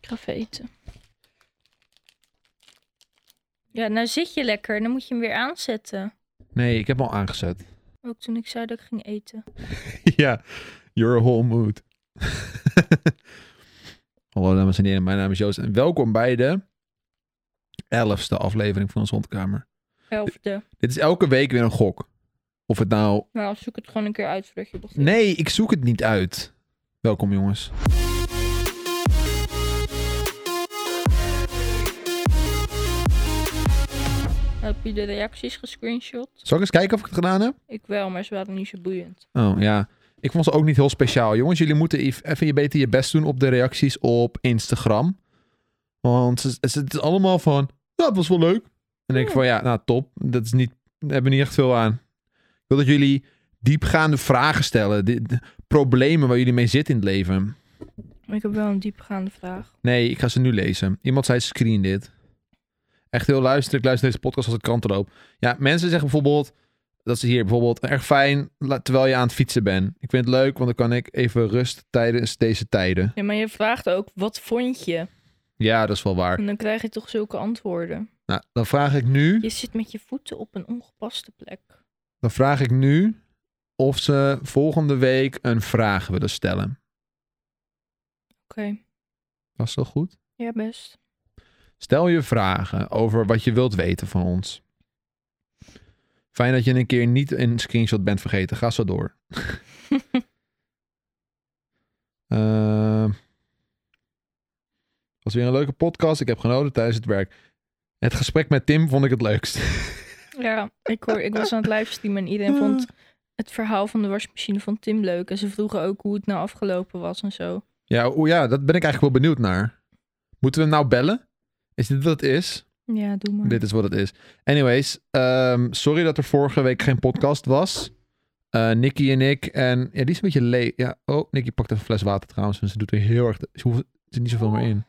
gegeten. Ja, nou zit je lekker. Dan moet je hem weer aanzetten. Nee, ik heb hem al aangezet. Ook toen ik zei dat ik ging eten. ja, your whole mood. Hallo dames en heren, mijn naam is Joost en welkom bij de elfste aflevering van onze hondkamer. Elfde. Dit is elke week weer een gok. Of het nou... Maar als zoek het gewoon een keer uit voordat je begint. Nee, ik zoek het niet uit. Welkom jongens. Heb je de reacties gescreenshot? Zal ik eens kijken of ik het gedaan heb? Ik wel, maar ze waren niet zo boeiend. Oh ja, ik vond ze ook niet heel speciaal. Jongens, jullie moeten ev- even je beter je best doen op de reacties op Instagram. Want ze- ze- het is allemaal van, "Ja, dat was wel leuk. En dan denk ik van, ja, nou top. Dat is niet, daar hebben we niet echt veel aan. Ik wil dat jullie diepgaande vragen stellen. Di- de problemen waar jullie mee zitten in het leven. Ik heb wel een diepgaande vraag. Nee, ik ga ze nu lezen. Iemand zei, screen dit. Echt heel luisteren. Ik luister deze podcast als ik kant erop. Ja, mensen zeggen bijvoorbeeld... Dat ze hier bijvoorbeeld erg fijn la- terwijl je aan het fietsen bent. Ik vind het leuk, want dan kan ik even rust tijdens deze tijden. Ja, maar je vraagt ook, wat vond je? Ja, dat is wel waar. En dan krijg je toch zulke antwoorden. Nou, dan vraag ik nu, Je zit met je voeten op een ongepaste plek. dan vraag ik nu of ze volgende week een vraag willen stellen. Oké, Dat is wel goed. ja best. Stel je vragen over wat je wilt weten van ons. Fijn dat je een keer niet een screenshot bent vergeten. Ga zo door. Eh, was weer een leuke podcast. Ik heb genoten tijdens het werk. Het gesprek met Tim vond ik het leukst. Ja, ik, hoor, ik was aan het livestreamen en iedereen vond het verhaal van de wasmachine van Tim leuk. En ze vroegen ook hoe het nou afgelopen was en zo. Ja, oeh, ja, dat ben ik eigenlijk wel benieuwd naar. Moeten we hem nou bellen? Is dit wat het is? Ja, doe maar. Dit is wat het is. Anyways, ehm, sorry dat er vorige week geen podcast was. Eh Nicky en ik. En ja, die is een beetje leeg. Ja, oh, Nicky pakt even een fles water trouwens. En ze doet weer heel erg. Ze hoeft, er zit niet zoveel meer in.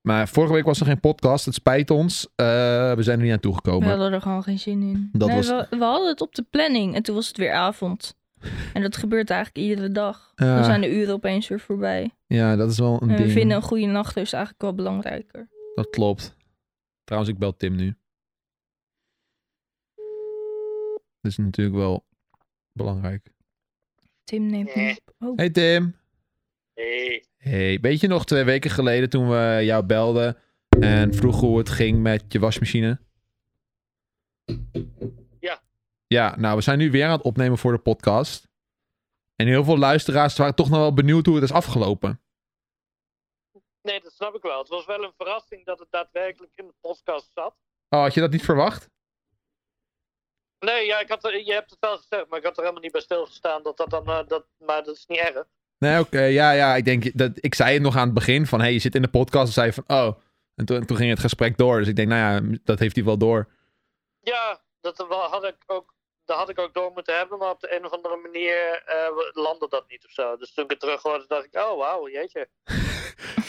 Maar vorige week was er geen podcast. Het spijt ons. Eh, we zijn er niet aan We toegekomen. hadden er gewoon geen zin in. Dat nee, was- we, we hadden het op de planning en toen was het weer avond. En dat gebeurt eigenlijk iedere dag. Ja. Dan zijn de uren opeens weer voorbij. Ja, dat is wel een En we ding. vinden een goede nachtrust eigenlijk wel belangrijker. Dat klopt. Trouwens, ik bel Tim nu. Dat is natuurlijk wel belangrijk. Tim neemt Nee. niet op. Oh, Hey Tim. Hey, Hey, weet je nog twee weken geleden toen we jou belden en vroegen hoe het ging met je wasmachine? Ja. Ja, nou we zijn nu weer aan het opnemen voor de podcast. En heel veel luisteraars waren toch nog wel benieuwd hoe het is afgelopen. nee, dat snap ik wel. Het was wel een verrassing dat het daadwerkelijk in de podcast zat. Oh, had je dat niet verwacht? Nee, ja, ik had er, je hebt het wel gezegd, maar ik had er helemaal niet bij stilgestaan. Dat dat dan, eh, dat, maar dat is niet erg. Nee, oké, ja, ja. Ik, denk dat, ik zei het nog aan het begin van, hey, je zit in de podcast. En zei je van, oh. En toen, toen ging het gesprek door. Dus ik denk, nou ja, dat heeft hij wel door. Ja, dat wel, had ik ook, dat had ik ook door moeten hebben, maar op de een of andere manier eh, landde dat niet of zo. Dus toen ik het terug hoorde, dacht ik, oh wauw, jeetje.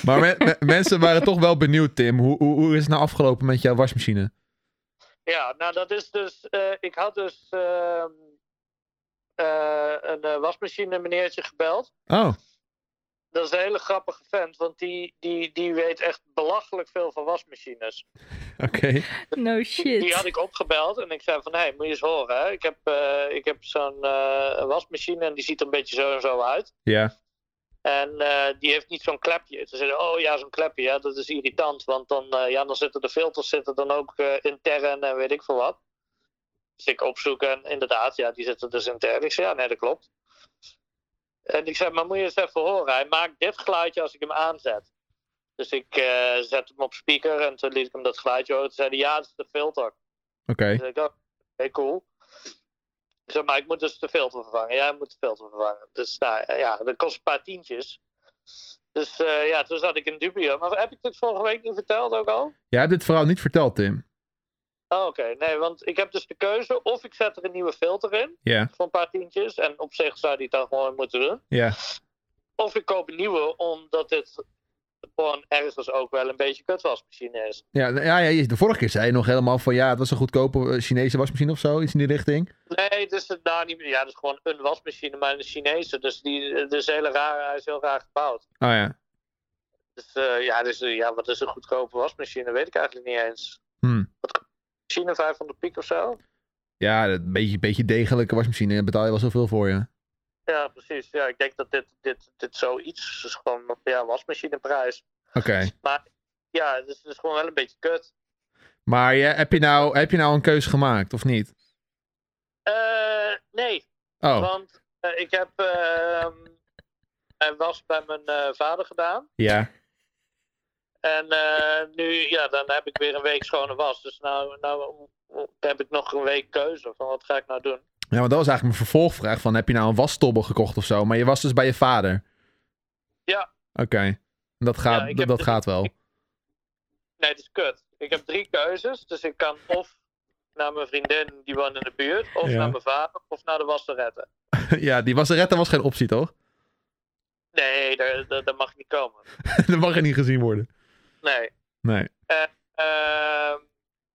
Maar me- me- mensen waren toch wel benieuwd, Tim. Hoe, hoe, hoe is het nou afgelopen met jouw wasmachine? Ja, nou dat is dus, eh, ik had dus ehm, eh, een eh, wasmachine meneertje gebeld. Oh. Dat is een hele grappige vent, want die, die, die weet echt belachelijk veel van wasmachines. Oké. no Die had shit. ik opgebeld en ik zei van, hé, moet je eens horen, hè? Ik heb, eh, ik heb zo'n eh, wasmachine en die ziet er een beetje zo en zo uit. Ja. En eh, die heeft niet zo'n klepje. Ze zeiden, oh ja, zo'n klepje, ja, dat is irritant, want dan, eh, ja, dan zitten de filters zitten dan ook eh, intern en weet ik veel wat. Dus ik opzoek en inderdaad, ja, die zitten dus intern. Ik zei, ja, nee, dat klopt. En ik zei, maar moet je eens even horen, hij maakt dit geluidje als ik hem aanzet. Dus ik eh zet hem op speaker en toen liet ik hem dat geluidje horen. Toen zei hij, ja, dat is de filter. Oké. Dus ik dacht, oké, cool. Ik zei, maar ik moet dus de filter vervangen. Ja, ik moet de filter vervangen. Dus nou, ja, dat kost een paar tientjes. Dus eh, ja, toen zat ik in dubio. Maar heb ik dit vorige week niet verteld ook al? Jij hebt dit verhaal niet verteld, Tim. Oh, oké. Nee, want ik heb dus de keuze of ik zet er een nieuwe filter in Ja. voor een paar tientjes. En op zich zou die het dan gewoon moeten doen. Ja. Of ik koop een nieuwe, omdat dit gewoon ergens ook wel een beetje kutwasmachine is. Ja, nou ja, ja, je- de vorige keer zei je nog helemaal van ja, het was een goedkope eh, Chinese wasmachine of zo, iets in die richting. Nee, het is het nou niet Ja, het is gewoon een eh, dus wasmachine, maar een Chinese. Dus die, het is heel raar, hij is heel raar gebouwd. Oh ja. het, eh, ja, dus, eh, ja, wat is een goedkope wasmachine? Weet ik eigenlijk niet eens. Hm. Machine 500 piek of zo? Ja, een beetje, beetje degelijke wasmachine. Daar betaal je wel zoveel voor je. Ja, precies. Ja, ik denk dat dit, dit, dit zoiets is Dus gewoon ja, wasmachineprijs. Oké. Ja, het is, het is gewoon wel een beetje kut. Maar je, heb, je nou, heb je nou een keuze gemaakt of niet? Eh, nee, Oh, want eh, ik heb ehm een was bij mijn eh, vader gedaan. ja. En eh, nu, ja, dan heb ik weer een week schone was. Dus nou, nou heb ik nog een week keuze van wat ga ik nou doen. Ja, want dat was eigenlijk mijn vervolgvraag. Van, heb je nou een wasstobbel gekocht of zo? Maar je was dus bij je vader. Ja. Oké. Dat, gaat, Ja, ik dat, heb dat dus- gaat wel. Nee, het is kut. Ik heb drie keuzes. Dus ik kan of naar mijn vriendin, die woont in de buurt. Of Ja. naar mijn vader, of naar de wasseretten. ja, die wasseretten was geen optie, toch? Nee, daar, daar, daar mag ik niet komen. dat mag er niet gezien worden. Nee. Nee. Ehm,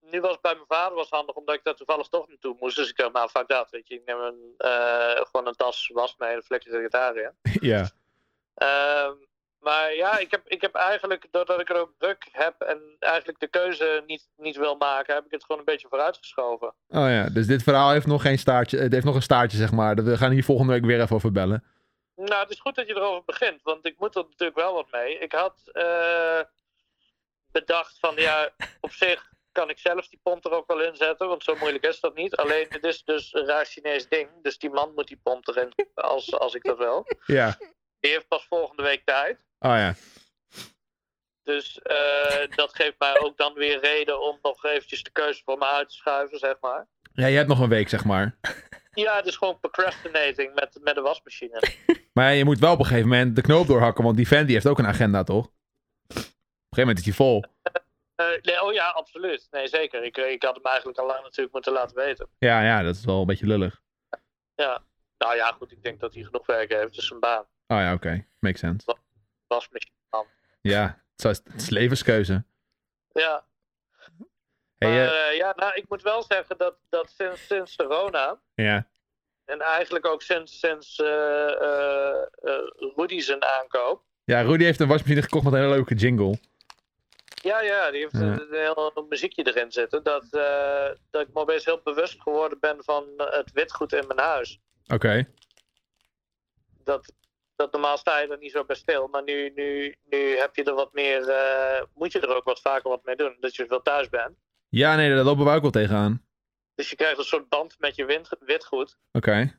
nu was het bij mijn vader was handig, omdat ik daar toevallig toch naartoe moest. Dus ik dacht, nou, fuck dat, weet je. Ik neem een, eh, gewoon een tas was mee en flikker de gitaar in. ja. Ehm, maar ja, ik heb, ik heb eigenlijk, doordat ik er ook druk heb en eigenlijk de keuze niet, niet wil maken, heb ik het gewoon een beetje vooruitgeschoven. Oh ja, dus dit verhaal heeft nog geen staartje. Het heeft nog een staartje, zeg maar. We gaan hier volgende week weer even over bellen. Nou, het is goed dat je erover begint, want ik moet er natuurlijk wel wat mee. Ik had eh, bedacht van, ja, op zich kan ik zelf die pomp er ook wel in zetten, want zo moeilijk is dat niet. Alleen, het is dus een raar Chinees ding, dus die man moet die pomp erin, als, als ik dat wil. Ja. Die heeft pas volgende week tijd. Oh ja. Dus eh, dat geeft mij ook dan weer reden om nog eventjes de keuze voor me uit te schuiven, zeg maar. Ja, je hebt nog een week, zeg maar. Ja, het is gewoon procrastinating met, met de wasmachine. Maar ja, je moet wel op een gegeven moment de knoop doorhakken, want die fan die heeft ook een agenda, toch? Op een gegeven moment is die vol. Eh, nee, oh ja, absoluut. Nee, zeker. Ik, ik had hem eigenlijk al lang natuurlijk moeten laten weten. Ja, ja, dat is wel een beetje lullig. Nou ja, goed, ik denk dat hij genoeg werk heeft. Dus een baan. Oh ja, oké. Makes sense. Wasmachine. Ja, het is, het is levenskeuze. Ja. Hey, maar eh, eh, ja, nou, ik moet wel zeggen dat, dat sinds, sinds corona... ja. en eigenlijk ook sinds, sinds eh, eh, eh, Rudy zijn aankoop... ja, Rudy heeft een wasmachine gekocht met een hele leuke jingle. Ja, ja, die heeft Ja. een, een heel een muziekje erin zitten. Dat, eh, dat ik me opeens heel bewust geworden ben van het witgoed in mijn huis. Oké. Dat, dat normaal sta je er niet zo bij stil. Maar nu, nu, nu heb je er wat meer. eh, moet je er ook wat vaker wat mee doen. Dat je wel thuis bent. Ja, nee, daar lopen we ook wel tegenaan. Dus je krijgt een soort band met je wind, witgoed. Oké.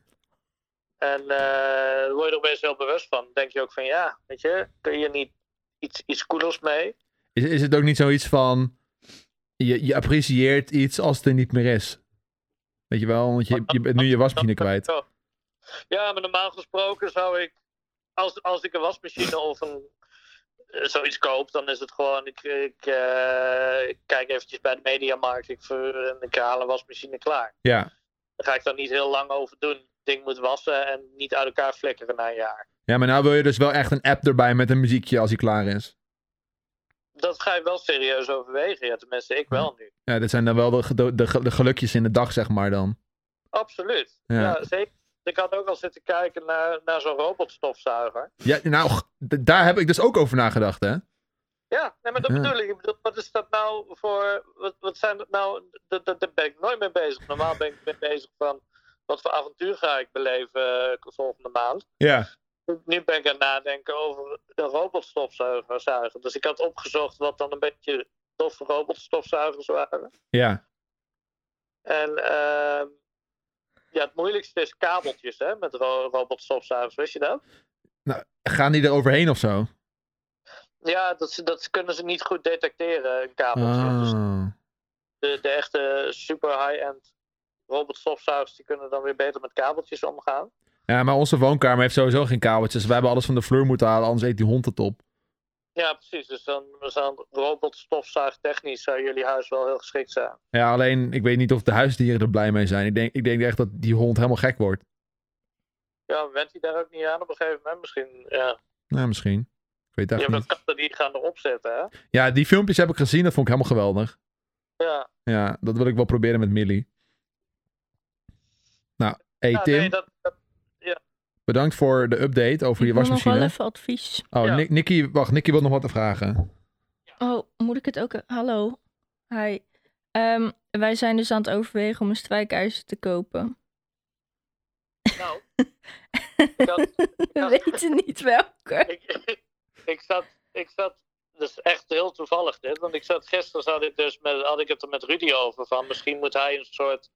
En eh, daar word je er opeens heel bewust van. Dan denk je ook van ja, weet je, kun je niet iets, iets coolers mee? Is, is het ook niet zoiets van. Je, je apprecieert iets als het er niet meer is? Weet je wel, want je, je bent nu je wasmachine kwijt. Zo. Ja, maar normaal gesproken zou ik, als, als ik een wasmachine of een, eh, zoiets koop, dan is het gewoon, ik, ik, eh, ik kijk eventjes bij de mediamarkt, ik, ver- en ik haal een wasmachine klaar. Ja. Daar ga ik dan niet heel lang over doen. Het ding moet wassen en niet uit elkaar flikkeren na een jaar. ja, maar nou wil je dus wel echt een app erbij met een muziekje als die klaar is. Dat ga je wel serieus overwegen, ja, tenminste ik wel nu. Ja, dit zijn dan wel de, ge- de, de, ge- de gelukjes in de dag, zeg maar dan. Absoluut. Ja. Ja. zeker. Ik had ook al zitten kijken naar, naar zo'n robotstofzuiger. Ja, nou, g- d- daar heb ik dus ook over nagedacht, hè? Ja, nee, maar dat Ja. bedoel ik. Ik bedoel, wat is dat nou voor. Wat, wat zijn dat nou. Daar dat, daar ben ik nooit mee bezig. Normaal ben ik mee bezig van. Wat voor avontuur ga ik beleven eh, volgende maand? Ja. Nu ben ik aan het nadenken over een robotstofzuiger. zuigen. Dus ik had opgezocht wat dan een beetje toffe robotstofzuigers waren. Ja. En ehm, ja, het moeilijkste is kabeltjes hè, met ro robotstofzuigers, wist je dat? Gaan die er overheen of zo? Ja, dat, ze- dat kunnen ze niet goed detecteren, een kabeltje. Dus Ah. de, de echte super high-end robotstofzuigers die kunnen dan weer beter met kabeltjes omgaan. Ja, maar onze woonkamer heeft sowieso geen kabeltjes. We hebben alles van de vloer moeten halen, anders eet die hond het op. Ja, precies. Dus dan zou een robotstofzuigtechnisch zou jullie huis wel heel geschikt zijn. Ja, alleen ik weet niet of de huisdieren er blij mee zijn. Ik denk, ik denk echt dat die hond helemaal gek wordt. Ja, went hij daar ook niet aan op een gegeven moment misschien? Ja, Nou, misschien. Ik weet je het echt hebt ook niet. katten die gaan erop zetten, hè? Ja, die filmpjes heb ik gezien. Dat vond ik helemaal geweldig. Ja, Ja, dat wil ik wel proberen met Millie. Nou, hey ja Tim. nee, dat, dat- ja. Bedankt voor de update over je ik wil nog wel wasmachine. even advies. Oh, Ja. Nick- Nicky, wacht, Nicky wil nog wat vragen. Oh, moet ik het ook... Hallo. Hi. Ehm, wij zijn dus aan het overwegen om een strijkijzer te kopen. Nou, Dat- We weten niet welke. ik, ik zat, ik zat, dat is echt heel toevallig dit, want ik zat gisteren zat ik dus met, had ik het er met Rudy over van, misschien moet hij een soort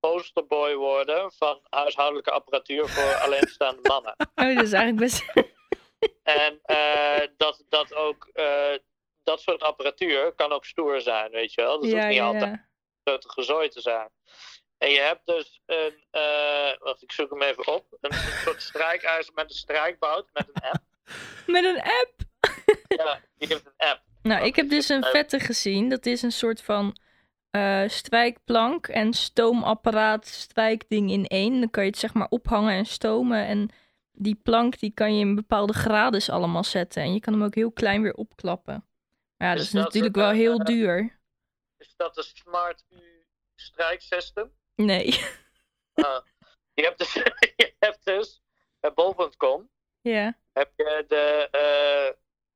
posterboy worden van huishoudelijke apparatuur voor alleenstaande mannen. Oh, dat is eigenlijk best... En eh, dat, dat ook, eh, dat soort apparatuur kan ook stoer zijn, weet je wel. Dat hoeft ja, niet ja, altijd ja. grote gezooi te zijn. En je hebt dus een, eh wacht, ik zoek hem even op, een, een soort strijkijzer met een strijkbout, met een app. Met een app. Ja, die heeft een app. Nou, Wat ik heb is dus het? een Eh, vette gezien. Dat is een soort van eh, strijkplank en stoomapparaat strijkding in één. Dan kan je het zeg maar ophangen en stomen. En die plank die kan je in bepaalde grades allemaal zetten. En je kan hem ook heel klein weer opklappen. Maar ja, dat Is is dat natuurlijk een, wel heel eh, duur. Is Dus dat de Smart U strijksystem? Nee. Ah, je hebt dus, je hebt dus bij bol.com ja. heb je de eh,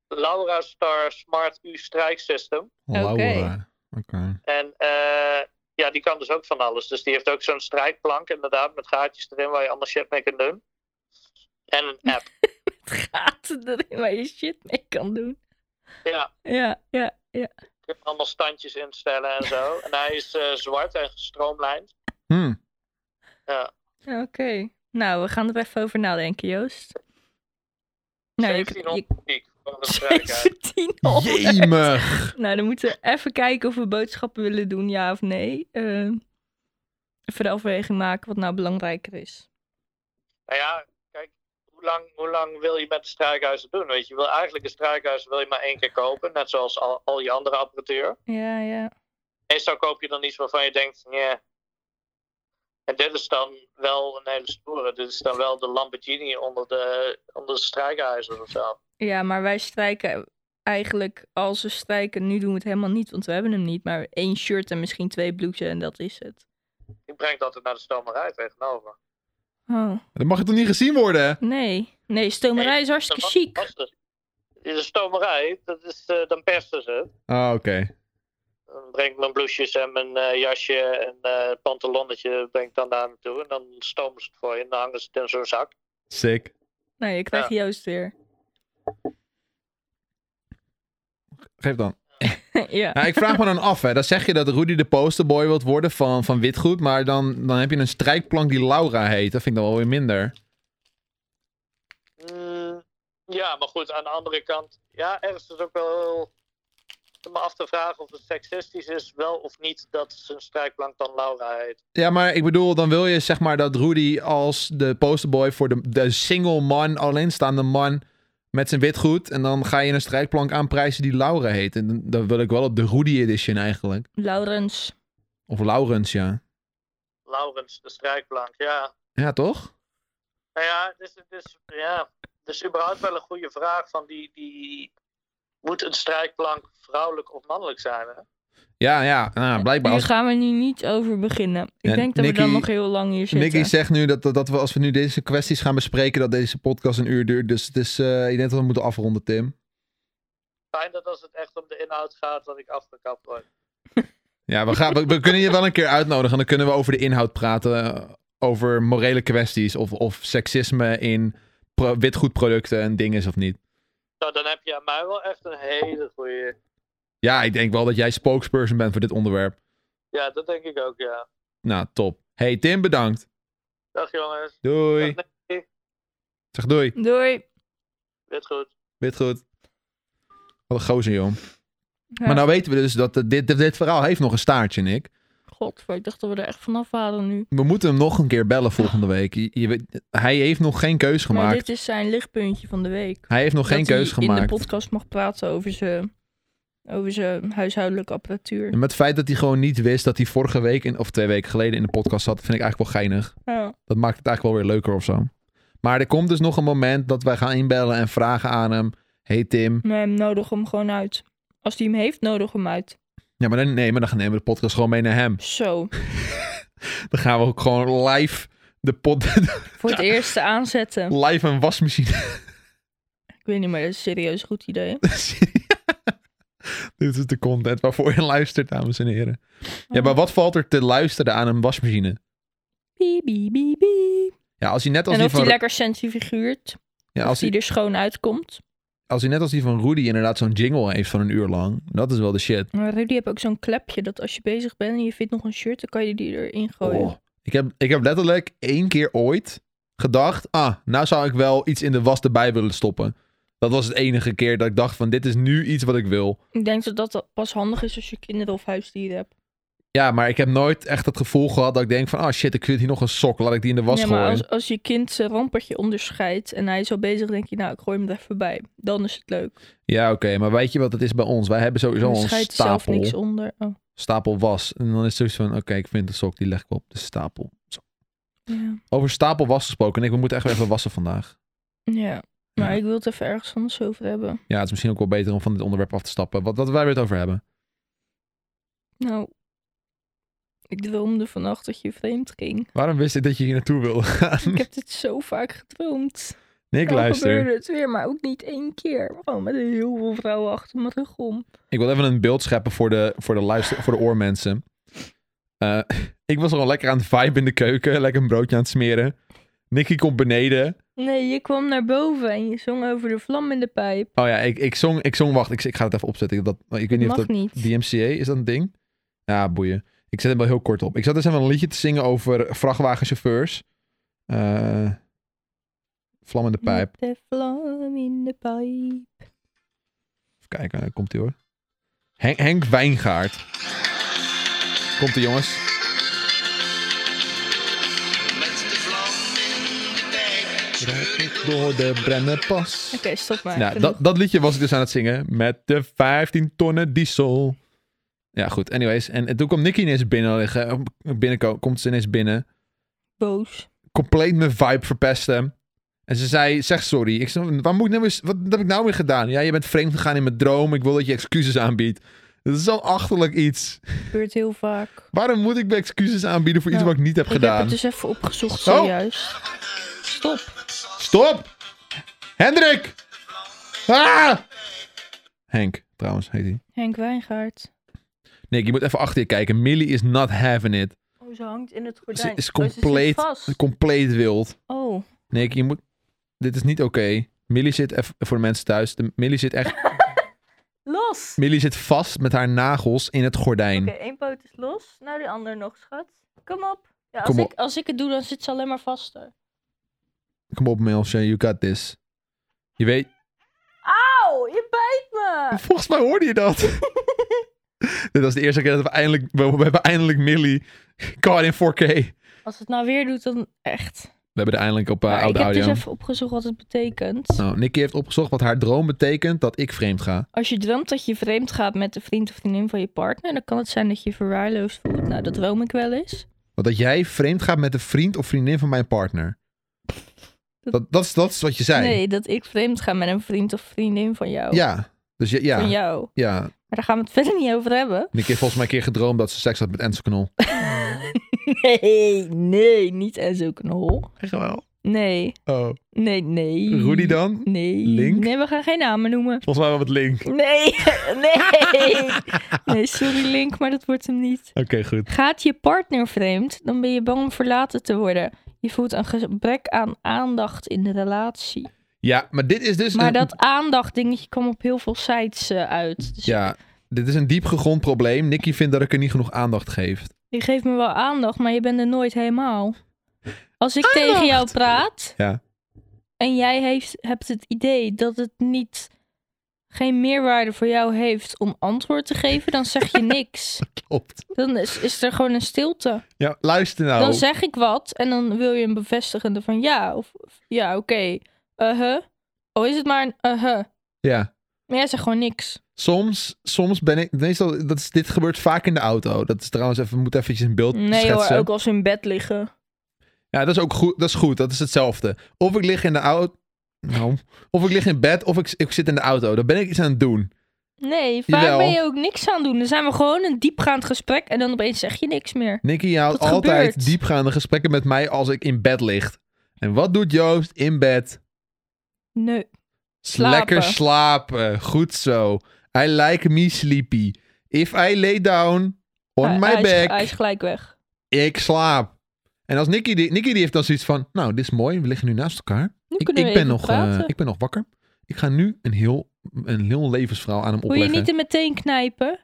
Laura Star Smart U strijksystem. Oké. Laura. Oké. En eh, ja, die kan dus ook van alles. Dus die heeft ook zo'n strijkplank inderdaad met gaatjes erin waar je allemaal shit mee kunt doen. En een app. Het gaat erin waar je shit mee kan doen. Ja, Ja, ja, ja. je kunt allemaal standjes instellen en zo. En hij is eh, zwart en gestroomlijnd. Hm. Ja. Oké. Nou, we gaan er even over nadenken, Joost. Nou, je- je, 1700 piek voor een strijkijzer. 1700. Jemig. Nou, dan moeten we even kijken of we boodschappen willen doen, ja of nee. Eh, even de afweging maken wat nou belangrijker is. Nou ja, kijk, hoe lang, hoe lang wil je met de strijkhuizen doen? Weet je, je wil eigenlijk een strijkhuis wil je maar één keer kopen, net zoals al, al je andere apparatuur. Ja, ja. Meestal koop je dan iets waarvan je denkt, ja. En dit is dan wel een hele stoere. Dit is dan wel de Lamborghini onder de, onder de strijkhuizen of zo. Ja, maar wij strijken eigenlijk, als we strijken, nu doen we het helemaal niet, want we hebben hem niet. Maar één shirt en misschien twee blouses en dat is het. Ik breng dat naar de stomerij tegenover. Oh, Dat mag het toch niet gezien worden? nee. Nee, stomerij is hartstikke Dat chic. was- was het. De stomerij, dat is, eh, dan persen ze. het. Ah, oké. Dan breng ik mijn bloesjes en mijn eh, jasje en eh pantalonnetje breng ik dan daar naartoe. En dan stomen ze het voor je en dan hangen ze het in zo'n zak. Sick. Nou, je krijgt Joost weer. Geef dan. ja. Nou, ik vraag me dan af, hè. Dan zeg je dat Rudy de posterboy wilt worden van, van Witgoed, maar dan, dan heb je een strijkplank die Laura heet. Dat vind ik dan wel weer minder. Mm, ja, maar goed, aan de andere kant. Ja, ergens is het ook wel heel... om me af te vragen of het seksistisch is, wel of niet, dat zijn strijkplank dan Laura heet. Ja, maar ik bedoel, dan wil je zeg maar dat Rudy als de posterboy voor de, de single man, alleenstaande man met zijn witgoed. En dan ga je een strijkplank aanprijzen die Laura heet. En dan, dan wil ik wel op de Rudy edition eigenlijk. Laurens. Of Laurens, ja. Laurens, de strijkplank, ja. Ja, toch? Nou ja, het is, het is, ja, het is überhaupt wel een goede vraag van die... die... Moet een strijkplank vrouwelijk of mannelijk zijn? Hè? Ja, ja. Nou, blijkbaar. Hier Als, gaan we nu niet over beginnen. Ik Ja, denk dat Nicky- we dan nog heel lang hier zitten. Nicky zegt nu dat, dat, dat we als we nu deze kwesties gaan bespreken, dat deze podcast een uur duurt. Dus het is, eh, ik denk dat we moeten afronden, Tim. Fijn dat als het echt om de inhoud gaat, dat ik afgekapt word. Ja, we, gaan, we, we kunnen je wel een keer uitnodigen. Dan kunnen we over de inhoud praten. eh, Over morele kwesties of, of seksisme in pro- witgoedproducten en dingen is of niet. Nou, dan heb je aan mij wel echt een hele goede. Ja, ik denk wel dat jij spokesperson bent voor dit onderwerp. Ja, dat denk ik ook, ja. Nou, top. Hey, Tim, bedankt. Dag jongens. Doei. Dag, Zeg doei. Doei. Wit goed. Witgoed. Wat een gozer, joh. Ja. Maar nou weten we dus dat eh, dit, dit, dit verhaal heeft nog een staartje, Nick. God, ik dacht dat we er echt vanaf waren nu. We moeten hem nog een keer bellen volgende week. Je, je weet- hij heeft nog geen keus gemaakt. Maar dit is zijn lichtpuntje van de week. Hij heeft nog geen dat hij keus in de gemaakt. podcast mag praten over zijn, over zijn huishoudelijke apparatuur. En met het feit dat hij gewoon niet wist dat hij vorige week in, of twee weken geleden in de podcast zat, vind ik eigenlijk wel geinig. Ja. Dat maakt het eigenlijk wel weer leuker of zo. Maar er komt dus nog een moment dat wij gaan inbellen en vragen aan hem. Hey Tim. Nee, hem nodig hem gewoon uit. Als hij hem heeft, nodig hem uit. Ja, maar dan, nee, maar dan nemen we de podcast gewoon mee naar hem. Zo. Dan gaan we ook gewoon live De pot Voor het eerst aanzetten. live een wasmachine. Ik weet niet, maar dat is serieus een goed idee. Dit is de content waarvoor je luistert, dames en heren. Ja, maar wat valt er te luisteren aan een wasmachine? Bie, bie, bie, bie. Ja, als hij net als En die of die van... lekker centrifugeert. ja, Of als hij die er schoon uitkomt. als hij net als die van Rudy inderdaad zo'n jingle heeft van een uur lang. Dat is wel de shit. Maar Rudy heeft ook zo'n klepje dat als je bezig bent en je vindt nog een shirt, dan kan je die erin gooien. Oh. Ik, heb, ik heb letterlijk één keer ooit gedacht... Ah, nou zou ik wel iets in de was erbij willen stoppen. Dat was het enige keer dat ik dacht van... Dit is nu iets wat ik wil. Ik denk dat dat pas handig is als je kinderen of huisdieren hebt. Ja, maar ik heb nooit echt het gevoel gehad dat ik denk van... Ah shit, ik vind hier nog een sok. Laat ik die in de was ja, maar gooien. als, als je kind zijn rampertje onderscheidt en hij is al bezig, denk je, nou, ik gooi hem er even bij. Dan is het leuk. Ja, oké. maar weet je wat het is bij ons? Wij hebben sowieso Dan al een scheidt zelf niks stapel, onder. Oh, stapel was. En dan is het zoiets van... Oké, ik vind de sok, die leg ik op. De stapel. Zo. ja. Over stapel was gesproken. Nick, we moeten echt weer even wassen vandaag. ja. Maar Ja. ik wil het even ergens anders over hebben. Ja, het is misschien ook wel beter om van dit onderwerp af te stappen. Wat, wat wij weer het over hebben. Nou, ik droomde vannacht dat je vreemd ging. Waarom wist ik dat je hier naartoe wilde gaan? Ik heb dit zo vaak gedroomd. Nick, Dan luister. gebeurde het weer, maar ook niet één keer. Gewoon met heel veel vrouwen achter mijn rug om. Ik wil even een beeld scheppen voor de, voor de, luister, voor de oormensen. Eh, ik was al lekker aan het vibe in de keuken. Lekker een broodje aan het smeren. Nicky komt beneden. Nee, je kwam naar boven en je zong over de vlam in de pijp. Oh ja, ik, ik, zong, ik zong, wacht, ik, ik ga het even opzetten. Dat, ik weet niet Mag of dat niet. DMCA is dat een ding. Ja, boeien. Ik zet hem wel heel kort op. Ik zat dus even een liedje te zingen over vrachtwagenchauffeurs. Eh vlammende pijp. Met de vlam in de pijp. Even kijken, daar komt hij hoor. Hen- Henk Wijngaard. Komt ie jongens. Met de vlam in de pijp. Scheur ik door. Door de Brennenpas. Oké, stop maar. Nou, Genoeg. dat, dat liedje was ik dus aan het zingen. Met de 15 tonnen diesel. Ja, goed. Anyways. En, en toen kwam Nicky ineens binnen liggen. Binnenko- komt ze ineens binnen. Boos. compleet mijn vibe verpesten. En ze zei, zeg sorry. Ik zei, waar moet ik nou eens, wat heb ik nou weer gedaan? Ja, je bent vreemd gegaan in mijn droom. Ik wil dat je excuses aanbiedt. Dat is zo achterlijk iets. Gebeurt heel vaak. Waarom moet ik me excuses aanbieden voor iets Nou, wat ik niet heb Ik heb gedaan? het dus even opgezocht Oh. zojuist. Stop. Stop! Hendrik! Ah! Henk, trouwens, heet hij. Henk Wijngaard. Nick, je moet even achter je kijken. Millie is not having it. Oh, ze hangt in het Ze gordijn. is Oh, compleet, zit vast. compleet wild. Oh, Nick, je moet... Dit is niet oké. Millie zit, eff- voor de mensen thuis, de, Millie zit echt los. Millie zit vast met haar nagels in het gordijn. Oké, één poot is los. Nou, die andere nog, schat. Kom op. Ja, als, Kom op. Ik, als ik het doe, dan zit ze alleen maar vaster. Kom op, Milsje, you got this. Je weet... Auw, je bijt me. Volgens mij hoorde je dat. Dit was de eerste keer dat we eindelijk... We, we hebben eindelijk Millie caught in 4K. Als het nou weer doet, dan echt. We hebben er eindelijk op eh, Maar ik oude heb audio. dus even opgezocht wat het betekent. Nou, Nicky heeft opgezocht wat haar droom betekent dat ik vreemd ga. Als je droomt dat je vreemd gaat met een vriend of vriendin van je partner, dan kan het zijn dat je je verwaarloosd voelt. Nou, dat droom ik wel eens. Want dat jij vreemd gaat met een vriend of vriendin van mijn partner. Dat, dat, is, dat is wat je zei. Nee, dat ik vreemd ga met een vriend of vriendin van jou. Ja. Dus je- ja, Van ja. jou. Maar daar gaan we het verder niet over hebben. Nicky heeft volgens mij een keer gedroomd dat ze seks had met Enzo Knol. Nee, nee, niet en zo'n knol. Echt wel. Nee, Oh. nee, nee. Rudy dan? Nee. Link? Nee, we gaan geen namen noemen. Volgens mij wel met Link. Oké, Nee, nee. Nee, sorry Link, maar dat wordt hem niet. goed. Gaat je partner vreemd, dan ben je bang om verlaten te worden. Je voelt een gebrek aan aandacht in de relatie. Ja, maar dit is dus. Maar een- dat aandacht dingetje kwam op heel veel sites eh, uit. Dus Ja, dit is een diep gegrond probleem. Nicky vindt dat ik er niet genoeg aandacht geef. je geeft me wel aandacht, maar je bent er nooit helemaal. Als ik tegen jou praat Ja. en jij heeft, hebt het idee dat het niet geen meerwaarde voor jou heeft om antwoord te geven, dan zeg je niks. Klopt. Dan is, is er gewoon een stilte. Ja, luister nou. Dan zeg ik wat en dan wil je een bevestigende van ja of of ja, oké. Uh huh. Oh, is het maar een uh huh. Ja. Maar jij zegt gewoon niks. Soms, soms ben ik. Meestal, dat is, dit gebeurt vaak in de auto. Dat is trouwens even. We moeten eventjes een beeld Nee hoor, schetsen. ook als we in bed liggen. Ja, dat is ook goed. Dat is goed. Dat is hetzelfde. Of ik lig in de auto. Nou, of ik lig in bed of ik, ik zit in de auto. Dan ben ik iets aan het doen. Nee, vaak Jawel. ben je ook niks aan doen. Dan zijn we gewoon een diepgaand gesprek en dan opeens zeg je niks meer. Nicky houdt Dat altijd gebeurt. diepgaande gesprekken met mij als ik in bed ligt. En wat doet Joost in bed? Nee. Slapen. Lekker slapen. Goed zo. I like me sleepy. If I lay down on Hij- my hij is- back, Hij is gelijk weg. ik slaap. En als Nicky, die, Nicky die heeft dan zoiets van, nou, dit is mooi, we liggen nu naast elkaar. Nu Ik, kunnen ik, we ben even nog, eh, praten. ik ben nog wakker. Ik ga nu een heel, een heel levensverhaal aan hem Wil je opleggen. niet er meteen knijpen?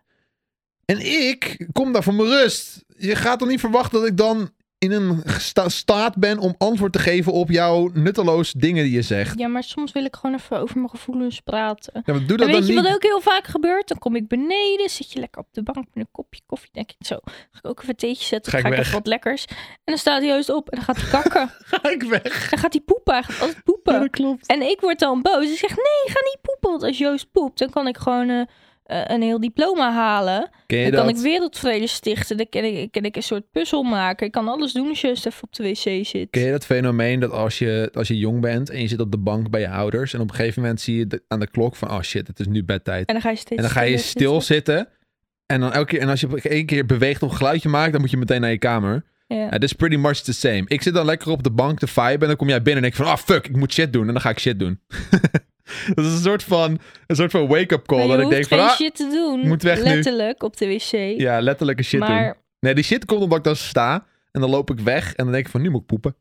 En ik kom daar voor mijn rust. Je gaat dan niet verwachten dat ik dan in een gesta- staat ben om antwoord te geven op jouw nutteloos dingen die je zegt. Ja, maar soms wil ik gewoon even over mijn gevoelens praten. Ja, maar doe En dat weet dan je niet. wat ook heel vaak gebeurt? Dan kom ik beneden, zit je lekker op de bank met een kopje koffie. Denk ik zo, ga ik ook even een theetje zetten, Ga ga, ik ik weg. even wat lekkers. En dan staat Joost op en dan gaat hij kakken. Ga ik weg. dan gaat hij poepen, hij gaat altijd poepen. Ja, dat klopt. En ik word dan boos. Ik zeg, nee, ga niet poepen. Want als Joost poept, dan kan ik gewoon eh, eh, een heel diploma halen. Ken je dan kan dat? ik wereldvrede stichten. Dan kan ik, kan ik een soort puzzel maken. Ik kan alles doen als Joost even op de wc zit. Ken je dat fenomeen dat als je, als je jong bent en je zit op de bank bij je ouders en op een gegeven moment zie je de- aan de klok van, oh shit, het is nu bedtijd. En dan ga je steeds En dan ga je stiller zitten. stil zitten en, dan elke keer, en als je één keer beweegt of een geluidje maakt, dan moet je meteen naar je kamer. Ja. Het is pretty much the same. Ik zit dan lekker op de bank te vibe en dan kom jij binnen en denk van, ah fuck, ik moet shit doen. En dan ga ik shit doen. dat is een soort van, een soort van wake-up Maar call. je Dat ik hoeft denk van, geen ah, shit te doen. moet weg nu. Letterlijk op de wc. ja, letterlijk een shit maar doen. Nee, die shit komt omdat ik dan sta en dan loop ik weg en dan denk ik van, nu moet ik poepen.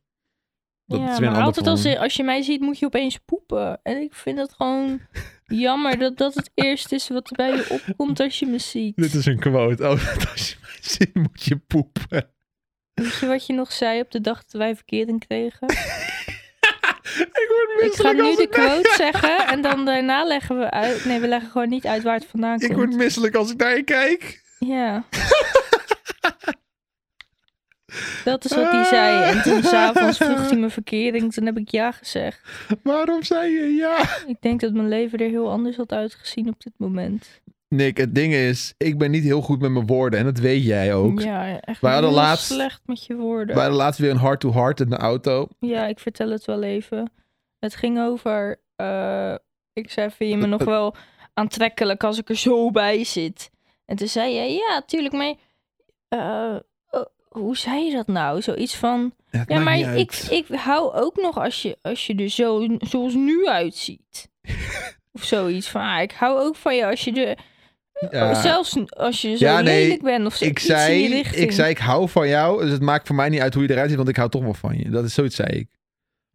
Dat ja, is weer een maar ander altijd als probleem. je, als je mij ziet, moet je opeens poepen. En ik vind dat gewoon jammer dat dat het eerste is wat bij je opkomt als je me ziet. Dit is een quote. Oh, als je mij ziet moet je poepen. Weet je wat je nog zei op de dag dat wij verkering kregen? ik word Ik ga misselijk nu als de ik, daar- quote zeggen en dan daarna leggen we uit. Nee, we leggen gewoon niet uit waar het vandaan komt. ik word misselijk als ik naar je kijk. Ja. Dat is wat hij zei. En toen s'avonds vroeg hij me verkering. Toen heb ik ja gezegd. Waarom zei je ja? Ik denk dat mijn leven er heel anders had uitgezien op dit moment. Nick, het ding is, ik ben niet heel goed met mijn woorden en dat weet jij ook. Ja, echt Wij hadden heel laatst- slecht met je woorden. We hadden laatst weer een hard-to-hard in de auto. Ja, ik vertel het wel even. Het ging over... eh, ik zei, vind je me nog wel aantrekkelijk als ik er zo bij zit? En toen zei jij, ja, tuurlijk, maar... eh, eh, hoe zei je dat nou? Zoiets van... Het Ja, maakt maar niet ik, uit. ik hou ook nog als je, als je er zo, zoals nu uitziet. of zoiets van, ah, ik hou ook van je als je er... Ja, Zelfs als je oh, zo Ja, nee, lelijk bent of zo, ik, iets zei, in die richting. ik zei, ik hou van jou. Dus het maakt voor mij niet uit hoe je eruit ziet, want ik hou toch wel van je. Dat is zoiets, zei ik.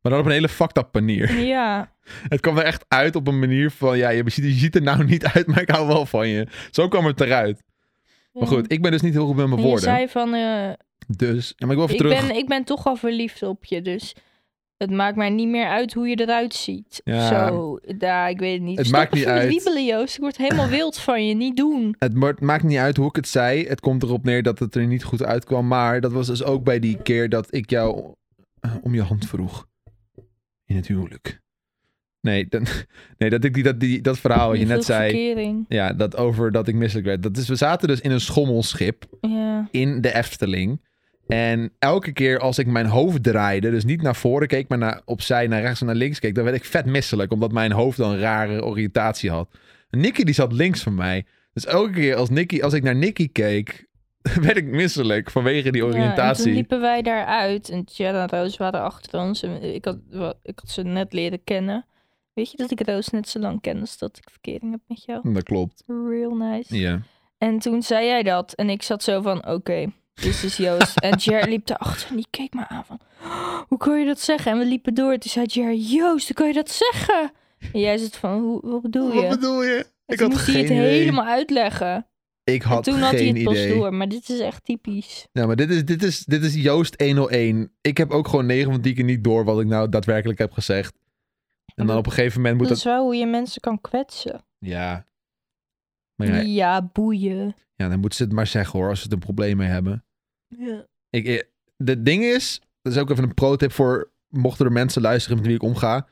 Maar dan op een hele fucked up manier. Ja, Het kwam er echt uit op een manier van, ja, je ziet, je ziet er nou niet uit, maar ik hou wel van je. Zo kwam het eruit. Maar goed, ik ben dus niet heel goed met mijn Mm. En je woorden. zei van, eh, Dus, ja, maar ik wil even ik, terug. ben, ik ben toch al verliefd op je, dus het maakt mij niet meer uit hoe je eruit ziet. Ja. Zo, daar, ik weet het niet. Het Stop maakt niet even met uit. wiebelen, Joost. Ik word helemaal wild van je, niet doen. Het ma- maakt niet uit hoe ik het zei. Het komt erop neer dat het er niet goed uitkwam. Maar dat was dus ook bij die keer dat ik jou eh, om je hand vroeg. In het huwelijk. Nee, dan, nee dat ik die, dat, die, dat verhaal wat Oh, je Die net vroeg zei. verkering. Ja, dat over dat ik misselijk werd. Dat is, we zaten dus in een schommelschip Ja. in de Efteling. En elke keer als ik mijn hoofd draaide, dus niet naar voren keek, maar naar, opzij, naar rechts en naar links keek, dan werd ik vet misselijk, omdat mijn hoofd dan een rare oriëntatie had. Nicky die zat links van mij. Dus elke keer als, Nicky, als ik naar Nicky keek, werd ik misselijk vanwege die Ja, en toen oriëntatie. liepen wij daaruit en Tjera en Roos waren achter ons. En ik had, wa- ik had ze net leren kennen. Weet je dat ik Roos net zo lang ken als dat ik verkering heb met jou? Dat klopt. Real nice. Ja. En toen zei jij dat en ik zat zo van, oké, dit is Joost. en Jer liep daarachter en die keek me aan van, "Oh, hoe kan je dat zeggen? En we liepen door. Toen zei Jer, Joost, hoe kan je dat zeggen? En jij zat van, hoe, wat bedoel je? Wat bedoel je? En Ik toen had moest hij geen het idee. helemaal uitleggen. Ik En had toen geen had hij het pas idee. door. Maar dit is echt typisch. Ja, maar dit is, dit, is, dit is Joost 101. Ik heb ook gewoon 9 van die keer niet door wat ik nou daadwerkelijk heb gezegd. En dan op een gegeven moment moet dat dat... is wel hoe je mensen kan kwetsen. Ja. Maar Ja, ja, boeien. ja, dan moeten ze het maar zeggen hoor, als ze er een probleem mee hebben. Ik, ik- het ding is, dat is ook even een pro-tip voor... mochten er mensen luisteren met wie ik omga.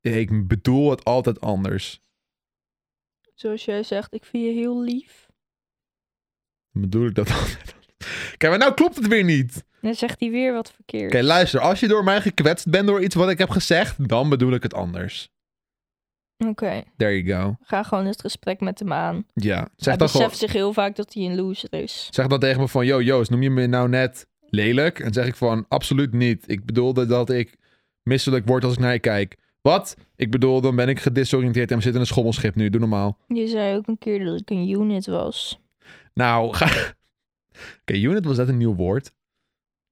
Ik bedoel het altijd anders. Zoals jij zegt, ik vind je heel lief. Dan bedoel ik dat altijd anders. Kijk, maar nou klopt het weer niet. Oké, Dan zegt hij weer wat verkeerd. luister. Als je door mij gekwetst bent door iets wat ik heb gezegd... dan bedoel ik het anders. Oké, There you go. ga gewoon het gesprek met hem aan. Ja. Hij Zeg dan gewoon... beseft zich heel vaak dat hij een loser is. Zeg dan tegen me van, yo Joost, noem je me nou net lelijk? En zeg ik van, absoluut niet. Ik bedoelde dat ik misselijk word als ik naar je kijk. Wat? Ik bedoel, dan ben ik gedisoriënteerd en we zitten in een schommelschip nu. Doe normaal. Je zei ook een keer dat ik een unit was. Nou, ga... Oké, unit was dat een nieuw woord.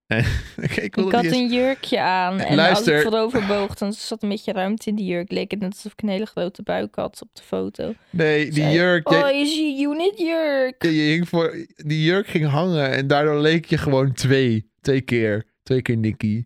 En- Oké, ik wilde ik had die eens- een jurkje aan en Luister. als ik voorover boog, dan zat een beetje ruimte in die jurk. Leek het net alsof ik een hele grote buik had op de foto. Nee, die Zei, jurk... jij- Oh, is je unit jurk? je hing voor... Die jurk ging hangen en daardoor leek je gewoon twee. Twee keer. Twee keer Nicky.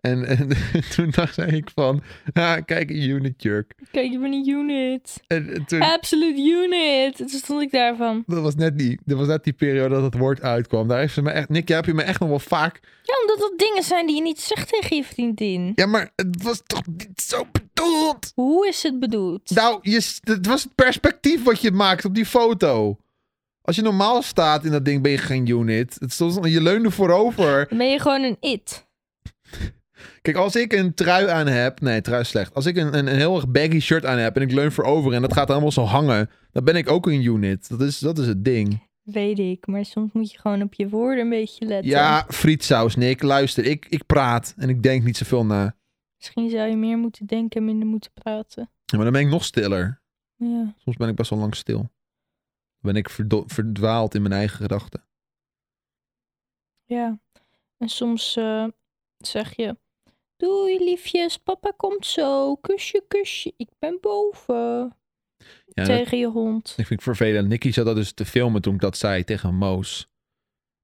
En, en toen dacht ik van, ah, kijk, een unit jurk. Kijk, je bent een unit. En toen... Absolute unit. En toen stond ik daarvan. Dat was net die, dat was net die periode dat het woord uitkwam. Daar heeft ze me echt, Nick, jij heb je me echt nog wel vaak. Ja, omdat dat dingen zijn die je niet zegt tegen je vriendin. Ja, maar het was toch niet zo bedoeld? Hoe is het bedoeld? Nou, je, s- het was het perspectief wat je maakt op die foto. Als je normaal staat in dat ding, ben je geen unit. Het stond, je leunde voorover. Dan ben je gewoon een it. Kijk, als ik een trui aan heb. Nee, trui is slecht. Als ik een, een, een heel erg baggy shirt aan heb en ik leun voorover en dat gaat allemaal zo hangen. Dan ben ik ook een unit. Dat is, dat is het ding. Weet ik, maar soms moet je gewoon op je woorden een beetje letten. Ja, frietsaus, Nick. Luister, ik, ik praat en ik denk niet zoveel na. Misschien zou je meer moeten denken en minder moeten praten. Ja, maar dan ben ik nog stiller. Ja. Soms ben ik best wel lang stil. Dan ben ik verdo- verdwaald in mijn eigen gedachten. ja. En soms eh, zeg je... Doei liefjes, papa komt zo. Kusje, kusje, ik ben boven. Ja, dat, Tegen je hond. ik vind ik vervelend. Nicky zat dat dus te filmen toen ik dat zei tegen Moos.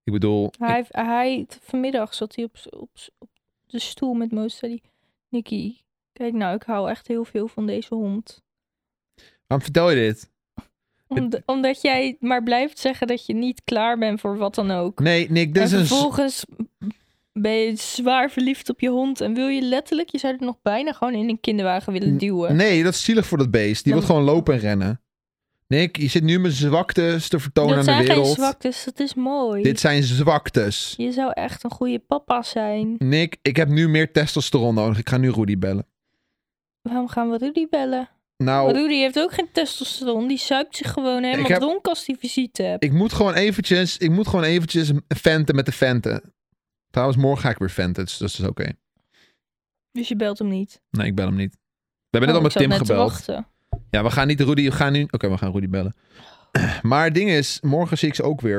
Ik bedoel, ik- Hij, hij, vanmiddag zat hij op, z- op, z- op de stoel met Moos. zei hij, Nicky, kijk nou, ik hou echt heel veel van deze hond. waarom vertel je dit? Om- omdat jij maar blijft zeggen dat je niet klaar bent voor wat dan ook. Nee, Nick, En dit is een... z- vervolgens ben je zwaar verliefd op je hond. En wil je letterlijk, je zou het nog bijna gewoon in een kinderwagen willen N- duwen. Nee, dat is zielig voor dat beest. Die Dan- wil gewoon lopen en rennen. Nick, je zit nu mijn zwaktes te vertonen dat aan de zijn geen wereld. zwaktes, dat is mooi. Dit zijn zwaktes. Je zou echt een goede papa zijn. Nick, ik heb nu meer testosteron nodig. Ik ga nu Rudy bellen. Waarom gaan we Rudy bellen? Nou, Rudy heeft ook geen testosteron. Die zuipt zich gewoon helemaal heb- dronken als hij visite hebt. Ik moet gewoon eventjes, ik moet gewoon eventjes venten met de venten. Trouwens, morgen ga ik weer venten, dus dat is oké. Dus je belt hem niet. Nee, ik bel hem niet. We Oh, hebben net al ik met zat Tim net te gebeld. wachten. Ja, we gaan niet Rudy, we gaan nu... Oké, we gaan Rudy bellen. Maar het ding is, morgen zie ik ze ook weer.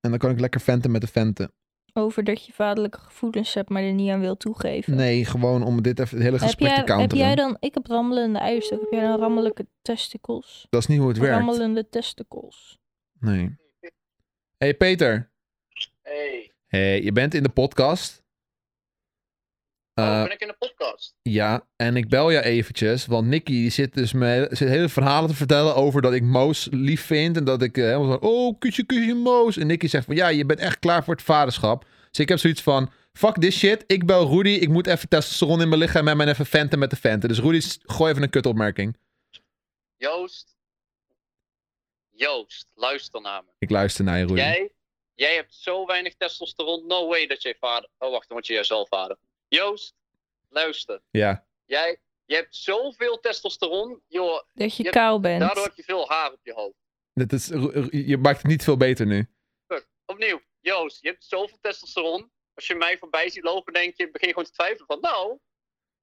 En dan kan ik lekker venten met de venten. Over dat je vaderlijke gevoelens hebt, maar er niet aan wil toegeven. Nee, gewoon om dit even, het hele heb gesprek jij, te heb counteren. jij dan, ik heb rammelende eierstok, heb jij dan rammelijke testicles? Dat is niet hoe het werkt. Rammelende testicles. Nee. hey, Peter. Hey. hey, je bent in de podcast. Oh, Eh, ben ik in de podcast? Ja, en ik bel je eventjes, want Nicky die zit dus me, zit hele verhalen te vertellen over dat ik Moos lief vind en dat ik eh, helemaal van, oh, kusje, kusje, Moos. En Nicky zegt van, ja, je bent echt klaar voor het vaderschap. Dus ik heb zoiets van, fuck this shit, ik bel Rudy, ik moet even testosteron in mijn lichaam en mijn even venten met de venten. Dus Rudy, s- gooi even een kutopmerking. Joost. Joost, luister naar me. Ik luister naar je, Rudy. Jij, jij hebt zo weinig testosteron. No way dat jij vader. Oh, wacht, dan word je jezelf vader. Joost, luister. Ja. Jij, jij hebt zoveel testosteron. Joh, Dat je Je- kaal bent. daardoor heb je veel haar op je hoofd. Dat is, Ru- Ru- je maakt het niet veel beter nu. Opnieuw, Joost, je hebt zoveel testosteron. Als je mij voorbij ziet lopen, denk je, begin gewoon te twijfelen van, nou,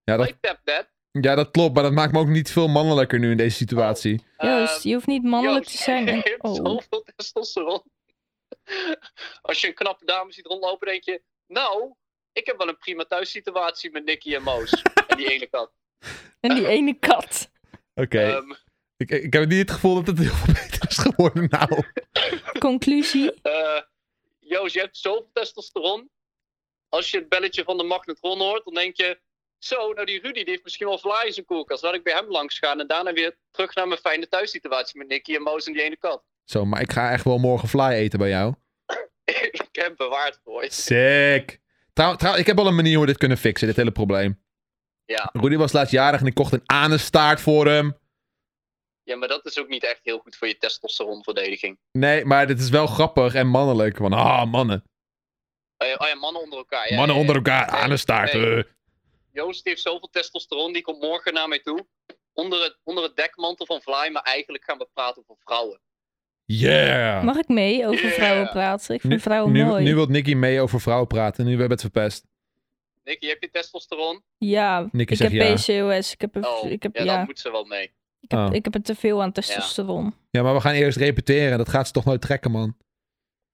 Ja dat, I tap that. ja, dat klopt, maar dat maakt me ook niet veel mannelijker nu in deze situatie. Joost, Ehm, je hoeft niet mannelijk Joost, te zijn. je En, hebt oh, zoveel testosteron. Als je een knappe dame ziet rondlopen, denk je, nou, ik heb wel een prima thuissituatie met Nicky en Moos. en die ene kat. en die ene kat. Oké, Ehm, ik, ik heb niet het gevoel dat het heel veel beter is geworden nou. Conclusie. Eh, Joost, je hebt zoveel testosteron. Als je het belletje van de magnetron hoort, dan denk je... Zo, nou die Rudy die heeft misschien wel vlaai in zijn koelkast. Laat ik bij hem langs gaan en daarna weer terug naar mijn fijne thuissituatie met Nicky en Moos en die ene kat. Zo, maar ik ga echt wel morgen fly eten bij jou. ik heb bewaard voor je. Sick. Trouw, trouw, ik heb al een manier hoe we dit kunnen fixen, dit hele probleem. Ja. Rudy was laatst jarig en ik kocht een anenstaart voor hem. ja, maar dat is ook niet echt heel goed voor je testosteronverdediging. Nee, maar dit is wel grappig en mannelijk. Van, ah, mannen. Oh ja, oh ja, mannen onder elkaar. Ja, mannen ja, ja. onder elkaar, Nee, anenstaart. nee. eh. Joost heeft zoveel testosteron, die komt morgen naar mij toe. onder het, onder het dekmantel van Vlaai, maar eigenlijk gaan we praten over vrouwen. Yeah! Mag ik mee over Yeah. vrouwen praten? Ik vind vrouwen Ah. nu, mooi. nu wil Nicky mee over vrouwen praten. Nu hebben we het verpest. Nicky, heb je testosteron? ja, Nicky ik heb zegt ja. PCOS. Ik heb, een- Oh, ik heb, ja, ja, dan moet ze wel mee. ik, heb, Oh. ik heb er te veel aan testosteron. Ja, maar we gaan eerst repeteren. Dat gaat ze toch nooit trekken, man.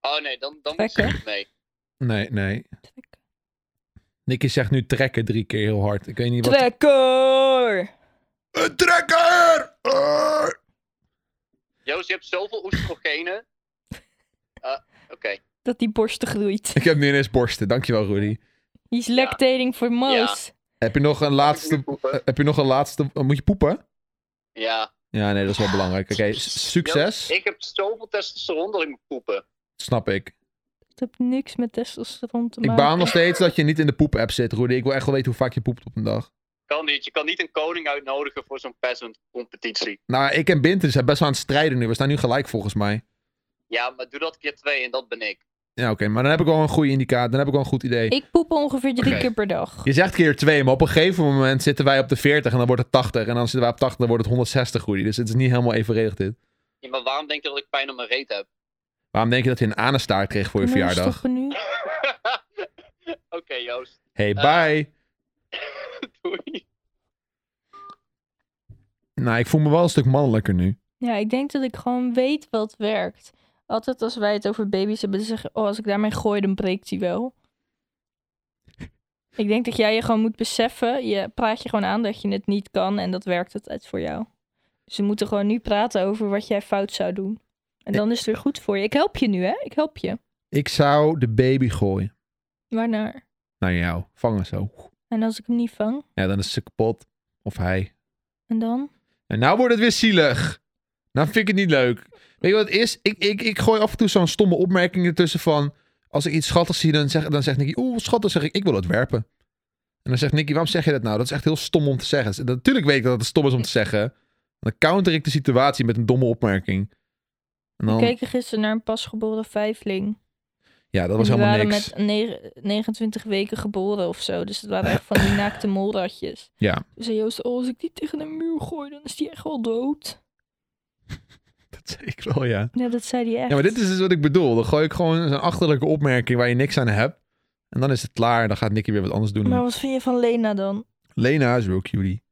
Oh nee, dan, dan moet ze Lekker. niet mee. Nee, nee. Nicky zegt nu trekken drie keer heel hard. Ik weet niet wat... Trekker! Een trekker! Ah! Joost, je hebt zoveel oestrogenen. Eh, Oké. Dat die borsten groeit. Ik heb nu ineens borsten. Dankjewel, Rudy. He's lactating for most. Heb je nog een laatste... eh, Heb je nog een laatste... oh, Moet je poepen? Ja. Ja, nee, dat is wel belangrijk. Oké, s- succes. Joost, ik heb zoveel testosteron dat ik moet poepen. Snap ik. Het heeft niks met testosteron te Ik maken. baal nog steeds dat je niet in de poep-app zit, Rudy. Ik wil echt wel weten hoe vaak je poept op een dag. Kan niet. Je kan niet een koning uitnodigen voor zo'n peasant competitie. Nou, ik en Binten zijn best wel aan het strijden nu. We staan nu gelijk volgens mij. Ja, maar doe dat keer twee en dat ben ik. Ja, oké. maar dan heb ik wel een goede indicator. Dan heb ik wel een goed idee. Ik poep ongeveer drie Oké. keer per dag. Je zegt keer twee, maar op een gegeven moment zitten wij op de 40 en dan wordt het 80. En dan zitten wij op 80 en dan wordt het 160, Rudy. Dus het is niet helemaal evenredig dit. Ja, maar waarom denk je dat ik pijn op mijn reet heb? Waarom denk je dat je een anenstaart kreeg voor je Kunnen we verjaardag? stoppen nu? Oké, Joost. Hey, Eh. bye. Doei. Nou, ik voel me wel een stuk mannelijker nu. Ja, ik denk dat ik gewoon weet wat werkt. Altijd als wij het over baby's hebben, dan zeggen oh, als ik daarmee gooi, dan breekt hij wel. ik denk dat jij je gewoon moet beseffen, je praat je gewoon aan dat je het niet kan en dat werkt het uit voor jou. Ze moeten gewoon nu praten over wat jij fout zou doen. En dan is het weer goed voor je. Ik help je nu, hè? Ik help je. Ik zou de baby gooien Waarnaar? naar jou. Vangen zo. En als ik hem niet vang? Ja, dan is ze kapot. Of hij. En dan? En nou wordt het weer zielig. Nou vind ik het niet leuk. Weet je wat het is? Ik, ik, ik gooi af en toe zo'n stomme opmerking ertussen van... Als ik iets schattigs zie, dan, zeg, dan zegt Nicky... Oeh, schattig. zeg ik, ik wil het werpen. En dan zegt Nicky, waarom zeg je dat nou? Dat is echt heel stom om te zeggen. Dus dat- Natuurlijk weet ik dat het stom is om te zeggen. Dan counter ik de situatie met een domme opmerking. En We dan, keken gisteren naar een pasgeboren vijfling. ja, dat was En die helemaal waren niks. met negen- 29 weken geboren of zo. Dus het waren echt van die naakte molratjes. Ja. Toen zei Joost, oh, als ik die tegen een muur gooi, dan is die echt wel dood. Dat zei ik wel, ja. Ja, dat zei hij echt. Ja, maar dit is dus wat ik bedoel. Dan gooi ik gewoon zo'n achterlijke opmerking waar je niks aan hebt. En dan is het klaar. Dan gaat Nicky weer wat anders doen. Maar wat vind je van Lena dan? Lena is wel cutie.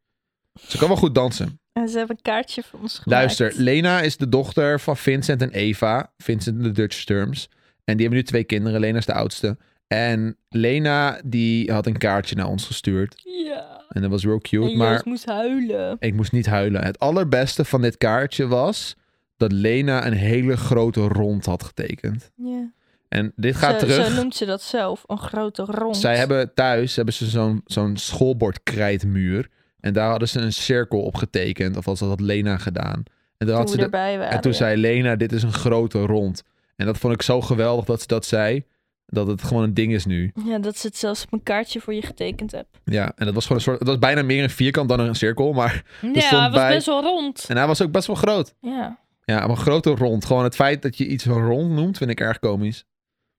Ze kan wel goed dansen. En ze hebben een kaartje voor ons gemaakt. Luister, Lena is de dochter van Vincent en Eva. Vincent en de Dutch Sturms. En die hebben nu twee kinderen. Lena is de oudste. En Lena die had een kaartje naar ons gestuurd. Ja. En dat was real cute. en maar Joost moest huilen. ik moest niet huilen. Het allerbeste van dit kaartje was dat Lena een hele grote rond had getekend. Ja. En dit gaat zo, terug. zo noemt ze dat zelf, een grote rond. Zij hebben thuis hebben ze zo'n zo'n schoolbordkrijtmuur. En daar hadden ze een cirkel op getekend. Of als dat had Lena gedaan. En, daar toen had ze we de- erbij waren. en toen ja. zei Lena, dit is een grote rond. En dat vond ik zo geweldig dat ze dat zei. Dat het gewoon een ding is nu. Ja, dat ze het zelfs op een kaartje voor je getekend hebt. Ja, en dat was gewoon een soort... Het was bijna meer een vierkant dan een cirkel. Maar, stond Ja, het was bij- best wel rond. en hij was ook best wel groot. Ja. Ja, maar een grote rond. Gewoon het feit dat je iets rond noemt, vind ik erg komisch.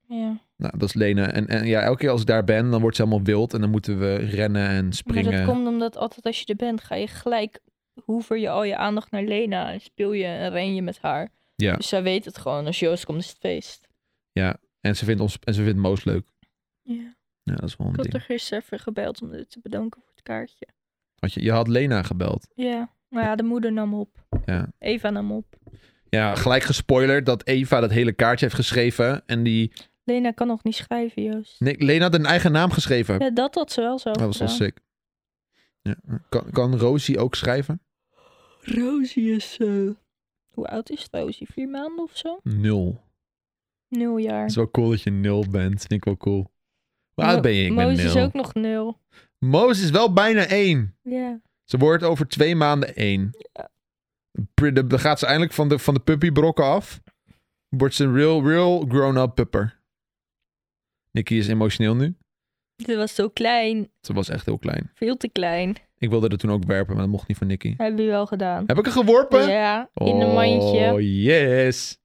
ja. Nou, dat is Lena. En, en ja, elke keer als ik daar ben, dan wordt ze helemaal wild. En dan moeten we rennen en Maar springen. dat komt omdat altijd als je er bent, ga je gelijk hoever je al je aandacht naar Lena en speel je en ren je met haar. Ja. Dus zij weet het gewoon. Als Joost komt is het feest. En ze vindt, ons, en ze vindt Moos leuk. Ja. Ja, dat is wel een Ik had ding. er gisteren even gebeld om te bedanken voor het kaartje. Want je, je had Lena gebeld. Ja. Maar ja, de moeder nam op. Ja. Eva nam op. Ja, gelijk gespoilerd dat Eva dat hele kaartje heeft geschreven. En die... Lena kan nog niet schrijven, Joost. Nee, Lena had een eigen naam geschreven. Ja, dat had ze wel zo. dat was wel gedaan. sick. Ja. Kan, kan Rosie ook schrijven? Rosie is. eh, Hoe oud is Rosie? Vier maanden of zo? Nul. Nul Het jaar. is wel cool dat je nul bent. Vind ik wel cool. Hoe oud Mo- ben je? Ik ben Moos is dus nul. ook nog nul. Moos is wel bijna één. Ja. Ze wordt over twee maanden één. Pri- de- Dan gaat ze eindelijk van de, van de puppybrokken af. Wordt ze een real, real grown-up pupper. Nicky is emotioneel nu. Ze was zo klein. Ze was echt heel klein. Veel te klein. Ik wilde er toen ook werpen, maar dat mocht niet van Nicky. Hebben jullie wel gedaan. Heb ik er geworpen? Ja, in een mandje. Oh, yes.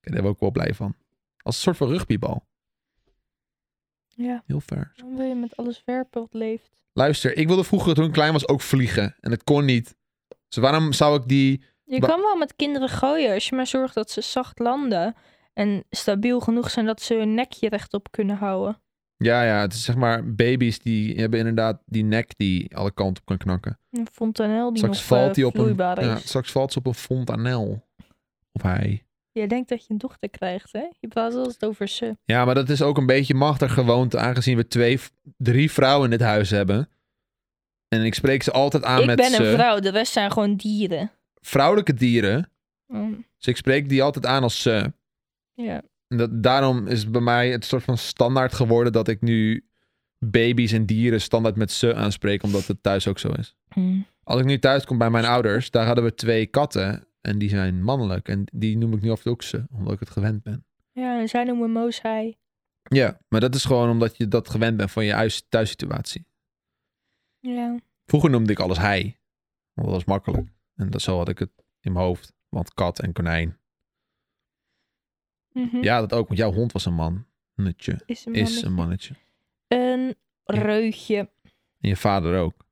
Kijk, Daar ben ik ook wel blij van. Als een soort van rugbybal. Ja, Heel ver. dan wil je met alles werpen wat leeft. Luister, ik wilde vroeger toen ik klein was ook vliegen. En het kon niet. Dus waarom zou ik die... Je Wa- kan wel met kinderen gooien als je maar zorgt dat ze zacht landen. En stabiel genoeg zijn dat ze hun nekje rechtop kunnen houden. Ja, ja, het is zeg maar baby's die hebben inderdaad die nek die alle kanten op kan knakken. Een fontanel die straks nog valt eh, die op een... vloeibaar ja, is. straks valt ze op een fontanel. Of hij. Je denkt dat je een dochter krijgt, hè? Je praat altijd over ze. Ja, maar dat is ook een beetje machtig gewoonte, aangezien we twee, drie vrouwen in dit huis hebben. En ik spreek ze altijd aan ik Ah, met ben ze. een vrouw, de rest zijn gewoon dieren. Vrouwelijke dieren. Mm, Dus ik spreek die altijd aan als ze. ja. En dat, daarom is bij mij het soort van standaard geworden dat ik nu baby's en dieren standaard met ze aanspreek, omdat het thuis ook zo is. Mm. Als ik nu thuis kom bij mijn ouders, daar hadden we twee katten. En die zijn mannelijk. En die noem ik nu af en toe ook ze, omdat ik het gewend ben. ja, en zij noemen Moos hij. Ja, maar dat is gewoon omdat je dat gewend bent van je huis- thuissituatie. Ja. Vroeger noemde ik alles hij. Want dat was makkelijk. En dat, zo had ik het in mijn hoofd. Want kat en konijn. Mhm. Ja, dat ook. Want jouw hond was een man. Nutje. Is een Is mannetje. een mannetje. Een reutje. En je vader ook.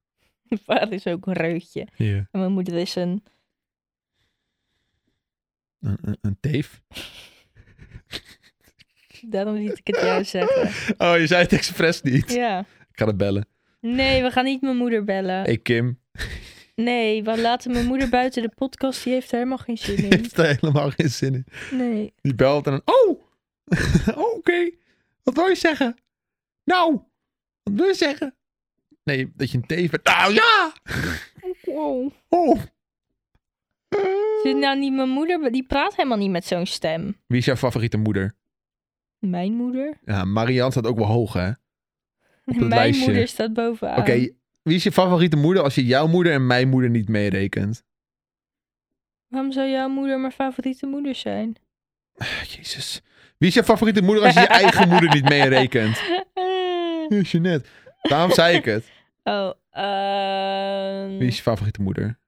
Mijn vader is ook een reutje. Ja. En mijn moeder is een... Een, een, een teef. Daarom liet ik het jou zeggen. Oh, je zei het expres niet. Ja. Ik ga het bellen. Nee, we gaan niet mijn moeder bellen. Hey Kim. Nee, we laten mijn moeder buiten de podcast. Die heeft er helemaal geen Die zin in. heeft er helemaal geen zin in. Nee. Die belt en dan... Oh! Oké. Wat wil je zeggen? Nou! Wat wil je zeggen? Nee, dat je een teef bent. Nou ja! Wow. Oh! Zit nou niet mijn moeder? Die praat helemaal niet met zo'n stem. Wie is jouw favoriete moeder? Mijn moeder? Ja, Marianne staat ook wel hoog, hè? Ehm. Oké, Mijn lijstje. moeder staat bovenaan. wie is je favoriete moeder als je jouw moeder en mijn moeder niet meerekent? Waarom zou jouw moeder mijn favoriete moeder zijn? Ah, Jezus. Wie is je favoriete moeder als je je eigen moeder niet meerekent? Eh, Eh, Jeanette. Daarom zei ik het. oh, ehm, Wie is je favoriete moeder?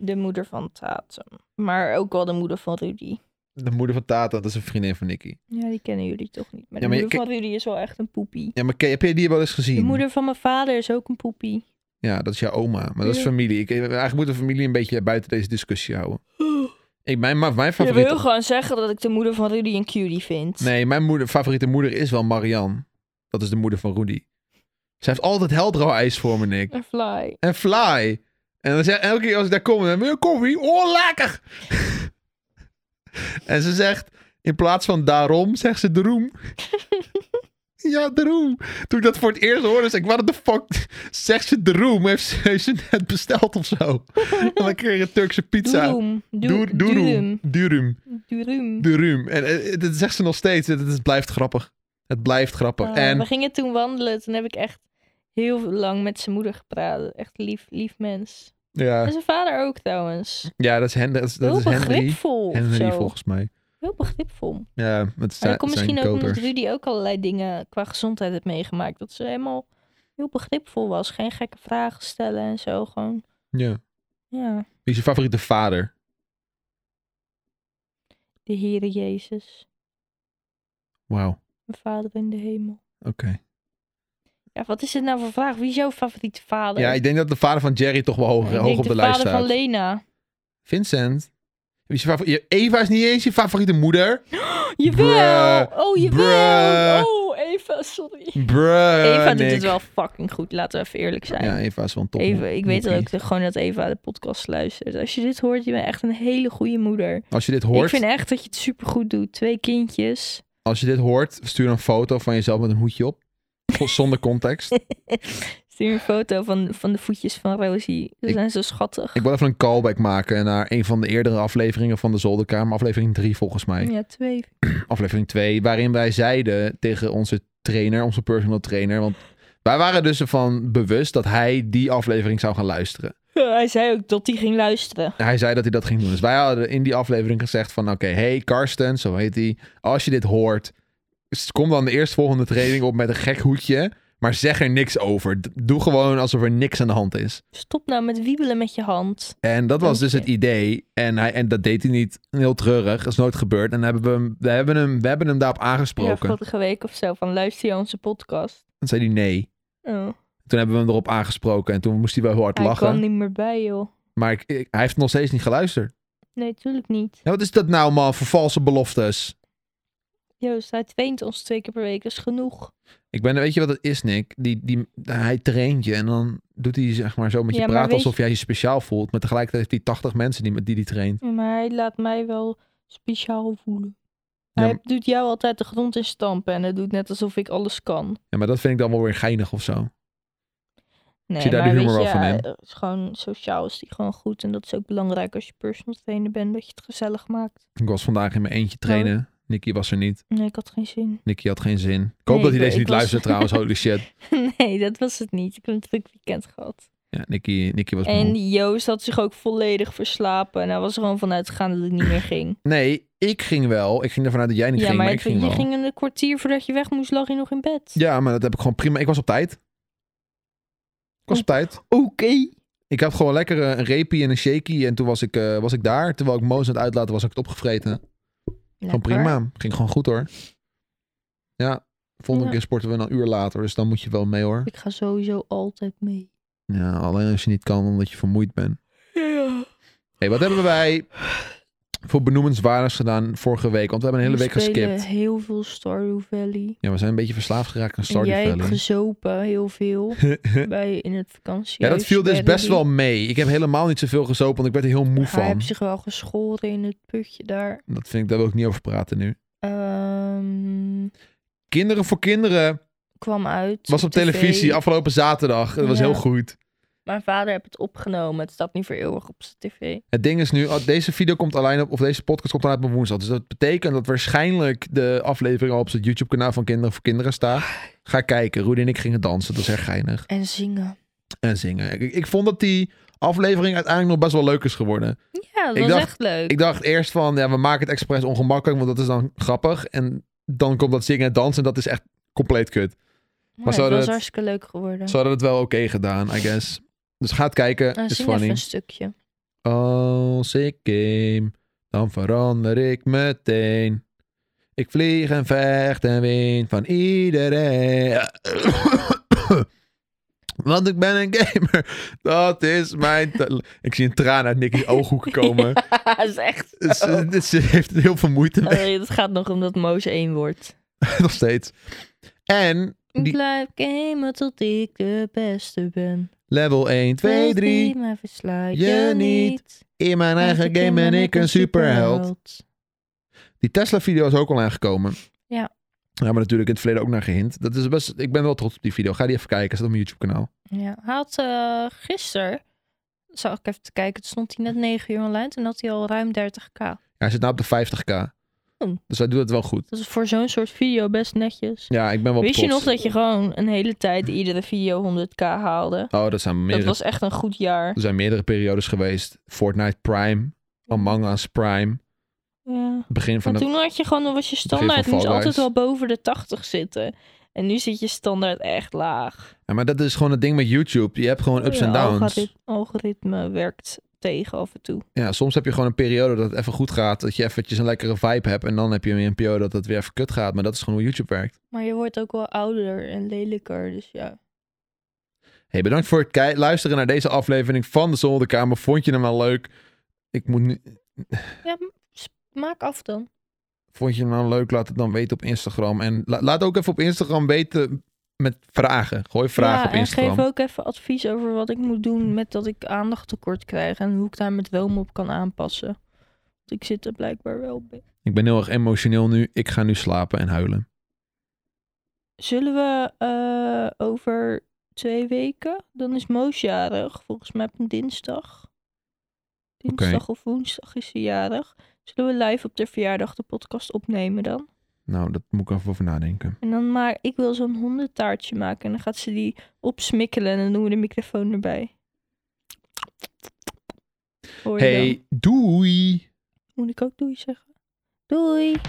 de moeder van Tatum. Maar ook wel de moeder van Rudy. De moeder van Tata, dat is een vriendin van Nicky. Ja, die kennen jullie toch niet. Maar Ja, de maar je moeder van Rudy is wel echt een poepie. Ja, maar ken- heb je die wel eens gezien? De moeder van mijn vader is ook een poepie. Ja, dat is jouw oma. Maar dat is Ja. familie. Ik, eigenlijk moet de familie een beetje buiten deze discussie houden. Ik, mijn, ma- mijn Je favoriete... wil gewoon zeggen dat ik de moeder van Rudy een cutie vind. Nee, mijn moeder, favoriete moeder is wel Marianne. Dat is de moeder van Rudy. Zij heeft altijd heldrouw ijs voor me, Nick. Een fly. En fly. En dan zegt elke keer als ik daar kom, dan wil je koffie? Oh, lekker! en ze zegt, in plaats van daarom, zegt ze droem. ja, droem. Toen ik dat voor het eerst hoorde, zei ik, what the fuck? Zegt ze droem? Heeft ze, heeft ze net besteld of zo? en dan kreeg je een Turkse pizza. Doeroem. Doer- Doer- Doeroem. Durum. Durum. Durum. Durum. En eh, eh, dat zegt ze nog steeds. Het, het blijft grappig. Het blijft grappig. Ah, en We gingen toen wandelen. Toen heb ik echt heel lang met zijn moeder gepraat. Echt lief, lief mens. En ja, zijn vader ook trouwens. ja, dat is, Hen, dat is, dat heel is Henry. begripvol. of zo. Henry volgens mij. Heel begripvol. Ja, het Maar zijn, dat komt zijn misschien ook omdat koters. Rudy ook allerlei dingen qua gezondheid heeft meegemaakt. Dat ze helemaal heel begripvol was. Geen gekke vragen stellen en zo. Gewoon, Ja. ja, Wie is je favoriete vader? de Heere Jezus. Wauw. Mijn vader in de hemel. Oké. Ja, wat is dit nou voor vraag? Wie is jouw favoriete vader? Ja, ik denk dat de vader van Jerry toch wel hoog, Ik hoog denk op de, lijst vader van staat. Lena. Vincent. Wie is je favori- je- Eva is niet eens je favoriete moeder. Jawel! Bruh. oh, jawel! Bruh. Oh, Eva, sorry. Bruh. Eva doet Nick. het wel fucking goed, laten we even eerlijk zijn. Ja, Eva is wel een top. Eva, ik weet moppie. ook dat- gewoon dat Eva de podcast luistert. Als je dit hoort, je bent echt een hele goede moeder. Als je dit hoort, Ik vind echt dat je het supergoed doet. Twee kindjes. als je dit hoort, stuur een foto van jezelf met een hoedje op. Zonder context. Stuur een foto van, van de voetjes van Rosie. Ze Ik- zijn zo schattig. Ik wil even een callback maken naar een van de eerdere afleveringen van de Zolderkamer. Aflevering 3 volgens mij. Ja, twee. Aflevering 2, waarin wij zeiden tegen onze trainer, onze personal trainer. Want wij waren dus ervan bewust dat hij die aflevering zou gaan luisteren. Hij zei ook dat hij ging luisteren. Hij zei dat hij dat ging doen. Dus wij hadden in die aflevering gezegd van... Oké, hey Karsten, zo heet hij. Als je dit hoort, kom dan de eerstvolgende training op met een gek hoedje. Maar zeg er niks over. D- Doe gewoon alsof er niks aan de hand is. Stop nou met wiebelen met je hand. En dat was dus Dank het idee. En, hij, en dat deed hij niet. Heel treurig. Dat is nooit gebeurd. En hebben we, hem, we, hebben hem, we hebben hem daarop Ja, aangesproken. vorige week of zo. Van luister je onze podcast? Dan zei hij nee. Oh. Toen hebben we hem erop aangesproken en toen moest hij wel heel hard Hij lachen. kwam niet meer bij, joh. Maar ik, ik- hij heeft nog steeds niet geluisterd. Nee, tuurlijk niet. Ja, wat is dat nou, man, voor valse beloftes? Joost, hij traint ons twee keer per week. Dat is genoeg. Ik ben, weet je wat het is, Nick? Die, die, hij traint je en dan doet hij zeg maar zo met je Ja, maar praten weet alsof jij je speciaal voelt. Maar tegelijkertijd heeft hij 80 mensen die, met die die traint. Ja, Maar hij laat mij wel speciaal voelen. Ja, Hij m- doet jou altijd de grond in stampen en het doet net alsof ik alles kan. Ja, maar dat vind ik dan wel weer geinig of zo. Nee, zie daar de maar humor weet je, wel van eh, in. het is gewoon sociaal is die gewoon goed. En dat is ook belangrijk als je personal trainer bent, dat je het gezellig maakt. Ik was vandaag in mijn Oh. eentje trainen. Nicky was er niet. Nee, ik had geen zin. Nicky had geen zin. Ik hoop dat ik- hij deze ik niet was- luistert trouwens. Holy shit. nee, dat was het niet. Ik heb een druk weekend gehad. Ja, Nicky, Nicky was moe. En Joost had zich ook volledig verslapen. En hij was er gewoon vanuit gegaan dat het niet meer ging. Nee, ik ging wel. Ik ging ervan uit dat jij niet ja, ging, maar, maar, het- ik ging je wel. ging een kwartier voordat je weg moest, lag je nog in bed. Ja, maar dat heb ik gewoon prima. Ik was op tijd. Ik was op tijd. Oké. Ik had gewoon lekker eh, een reepie en een shaky. En toen was ik, eh, was ik daar. Terwijl ik Moos aan het uitlaten was, ik het opgevreten. Gewoon prima. Ging gewoon goed hoor. Ja, volgende Ja. keer sporten we een uur later. Dus dan moet je wel mee hoor. Ik ga sowieso altijd mee. Ja, alleen als je niet kan omdat je vermoeid bent. hey, wat hebben wij voor benoemenswaardigs gedaan vorige week? Want we hebben een hele We week spelen geskipt. heel veel Stardew Valley. Ja, we zijn een beetje verslaafd geraakt aan en Stardew jij hebt Valley. gezopen, heel veel. bij in het vakantie. Ja, dat viel dus best wel mee. Ik heb helemaal niet zoveel gezopen, want ik werd er heel moe Hij van. heeft zich wel geschoren in het putje daar. Dat vind ik, daar wil ik niet over praten nu. Ehm, Kinderen voor kinderen kwam uit. was op tv. televisie afgelopen zaterdag. Dat was Ja. heel goed. Mijn vader heeft het opgenomen. Het staat nu voor eeuwig op zijn tv. Het ding is nu, oh, deze video komt alleen op, of deze podcast komt alleen op woensdag. Dus dat betekent dat waarschijnlijk de aflevering al op het YouTube-kanaal van Kinderen voor Kinderen staat. Ga kijken. Rudy en ik gingen dansen. Dat is erg geinig. En zingen. En zingen. Ik, ik vond dat die aflevering uiteindelijk nog best wel leuk is geworden. Ja, dat Ik was dacht- echt leuk. Ik dacht eerst van, ja, we maken het expres ongemakkelijk, want dat is dan grappig. En dan komt dat zingen en dansen. Dat is echt compleet kut. maar maar het ze was hadden het- hartstikke leuk geworden. Ze hadden het wel oké gedaan, I guess. Dus ga het kijken. En is zing even funny. een stukje. Als ik game, dan verander ik meteen. Ik vlieg en vecht en win van iedereen. Want ik ben een gamer. Dat is mijn. ta- Ik zie een traan uit Nicky's ooghoeken komen. Dus, dat is echt zo. Ze, ze heeft er heel veel moeite mee. Allee, Het gaat nog om dat Moos één wordt. Nog steeds. En Ik Die- blijf gamen tot ik de beste ben. level 1, 2, 3. Maar versla je je niet. niet. In mijn eigen game ben ik een superheld. Die Tesla-video is ook al aangekomen. Ja. Ja, maar natuurlijk in het verleden ook naar gehint. Dat is best, ik ben wel trots op die video. Ga die even kijken. Staat op mijn YouTube-kanaal. Ja, hij had eh, gisteren, zag ik even te kijken, toen stond hij net 9 uur online. Toen had hij al ruim 30k. Ja, hij zit nu op de 50k. Oh. Dus hij doet het wel goed. Dat is voor zo'n soort video best netjes. Ja, ik ben wel Wist je trots. nog dat je gewoon een hele tijd iedere video 100k haalde? Oh, dat zijn meerdere, Dat was echt een goed jaar. er zijn meerdere periodes geweest. Fortnite Prime, Among Us Prime. Ja. Begin van Maar de... toen had je gewoon, dan was je begin van standaard, moest Fall Guys. altijd wel boven de 80 zitten. En nu zit je standaard echt laag. Ja, maar dat is gewoon het ding met YouTube. Je hebt gewoon ups Oh Ja, en downs. algorit- algoritme werkt tegen af en toe. Ja, soms heb je gewoon een periode dat het even goed gaat. Dat je eventjes een lekkere vibe hebt. En dan heb je weer een periode dat het weer even kut gaat. Maar dat is gewoon hoe YouTube werkt. Maar je wordt ook wel ouder en lelijker, dus ja. Hey, bedankt voor het kei- luisteren naar deze aflevering van de Zolderkamer. Vond je hem wel leuk? Ik moet nu... Ja, m- s- maak af dan. Vond je hem nou leuk? Laat het dan weten op Instagram. En la- laat ook even op Instagram weten met vragen. Gooi vragen ja, op en Instagram. geef ook even advies over wat ik moet doen met dat ik aandachttekort krijg en hoe ik daar met Welm op kan aanpassen. Want ik zit er blijkbaar wel bij. Ik ben heel erg emotioneel nu. Ik ga nu slapen en huilen. Zullen we eh, over twee weken? Dan is Moos jarig. Volgens mij op een dinsdag. Dinsdag of woensdag is ze jarig. Zullen we live op de verjaardag de podcast opnemen dan? Nou, dat moet ik even over nadenken. En dan maar, ik wil zo'n hondentaartje maken. En dan gaat ze die opsmikkelen en dan doen we de microfoon erbij. Hoor je Hey, dan? doei! Moet ik ook doei zeggen? Doei!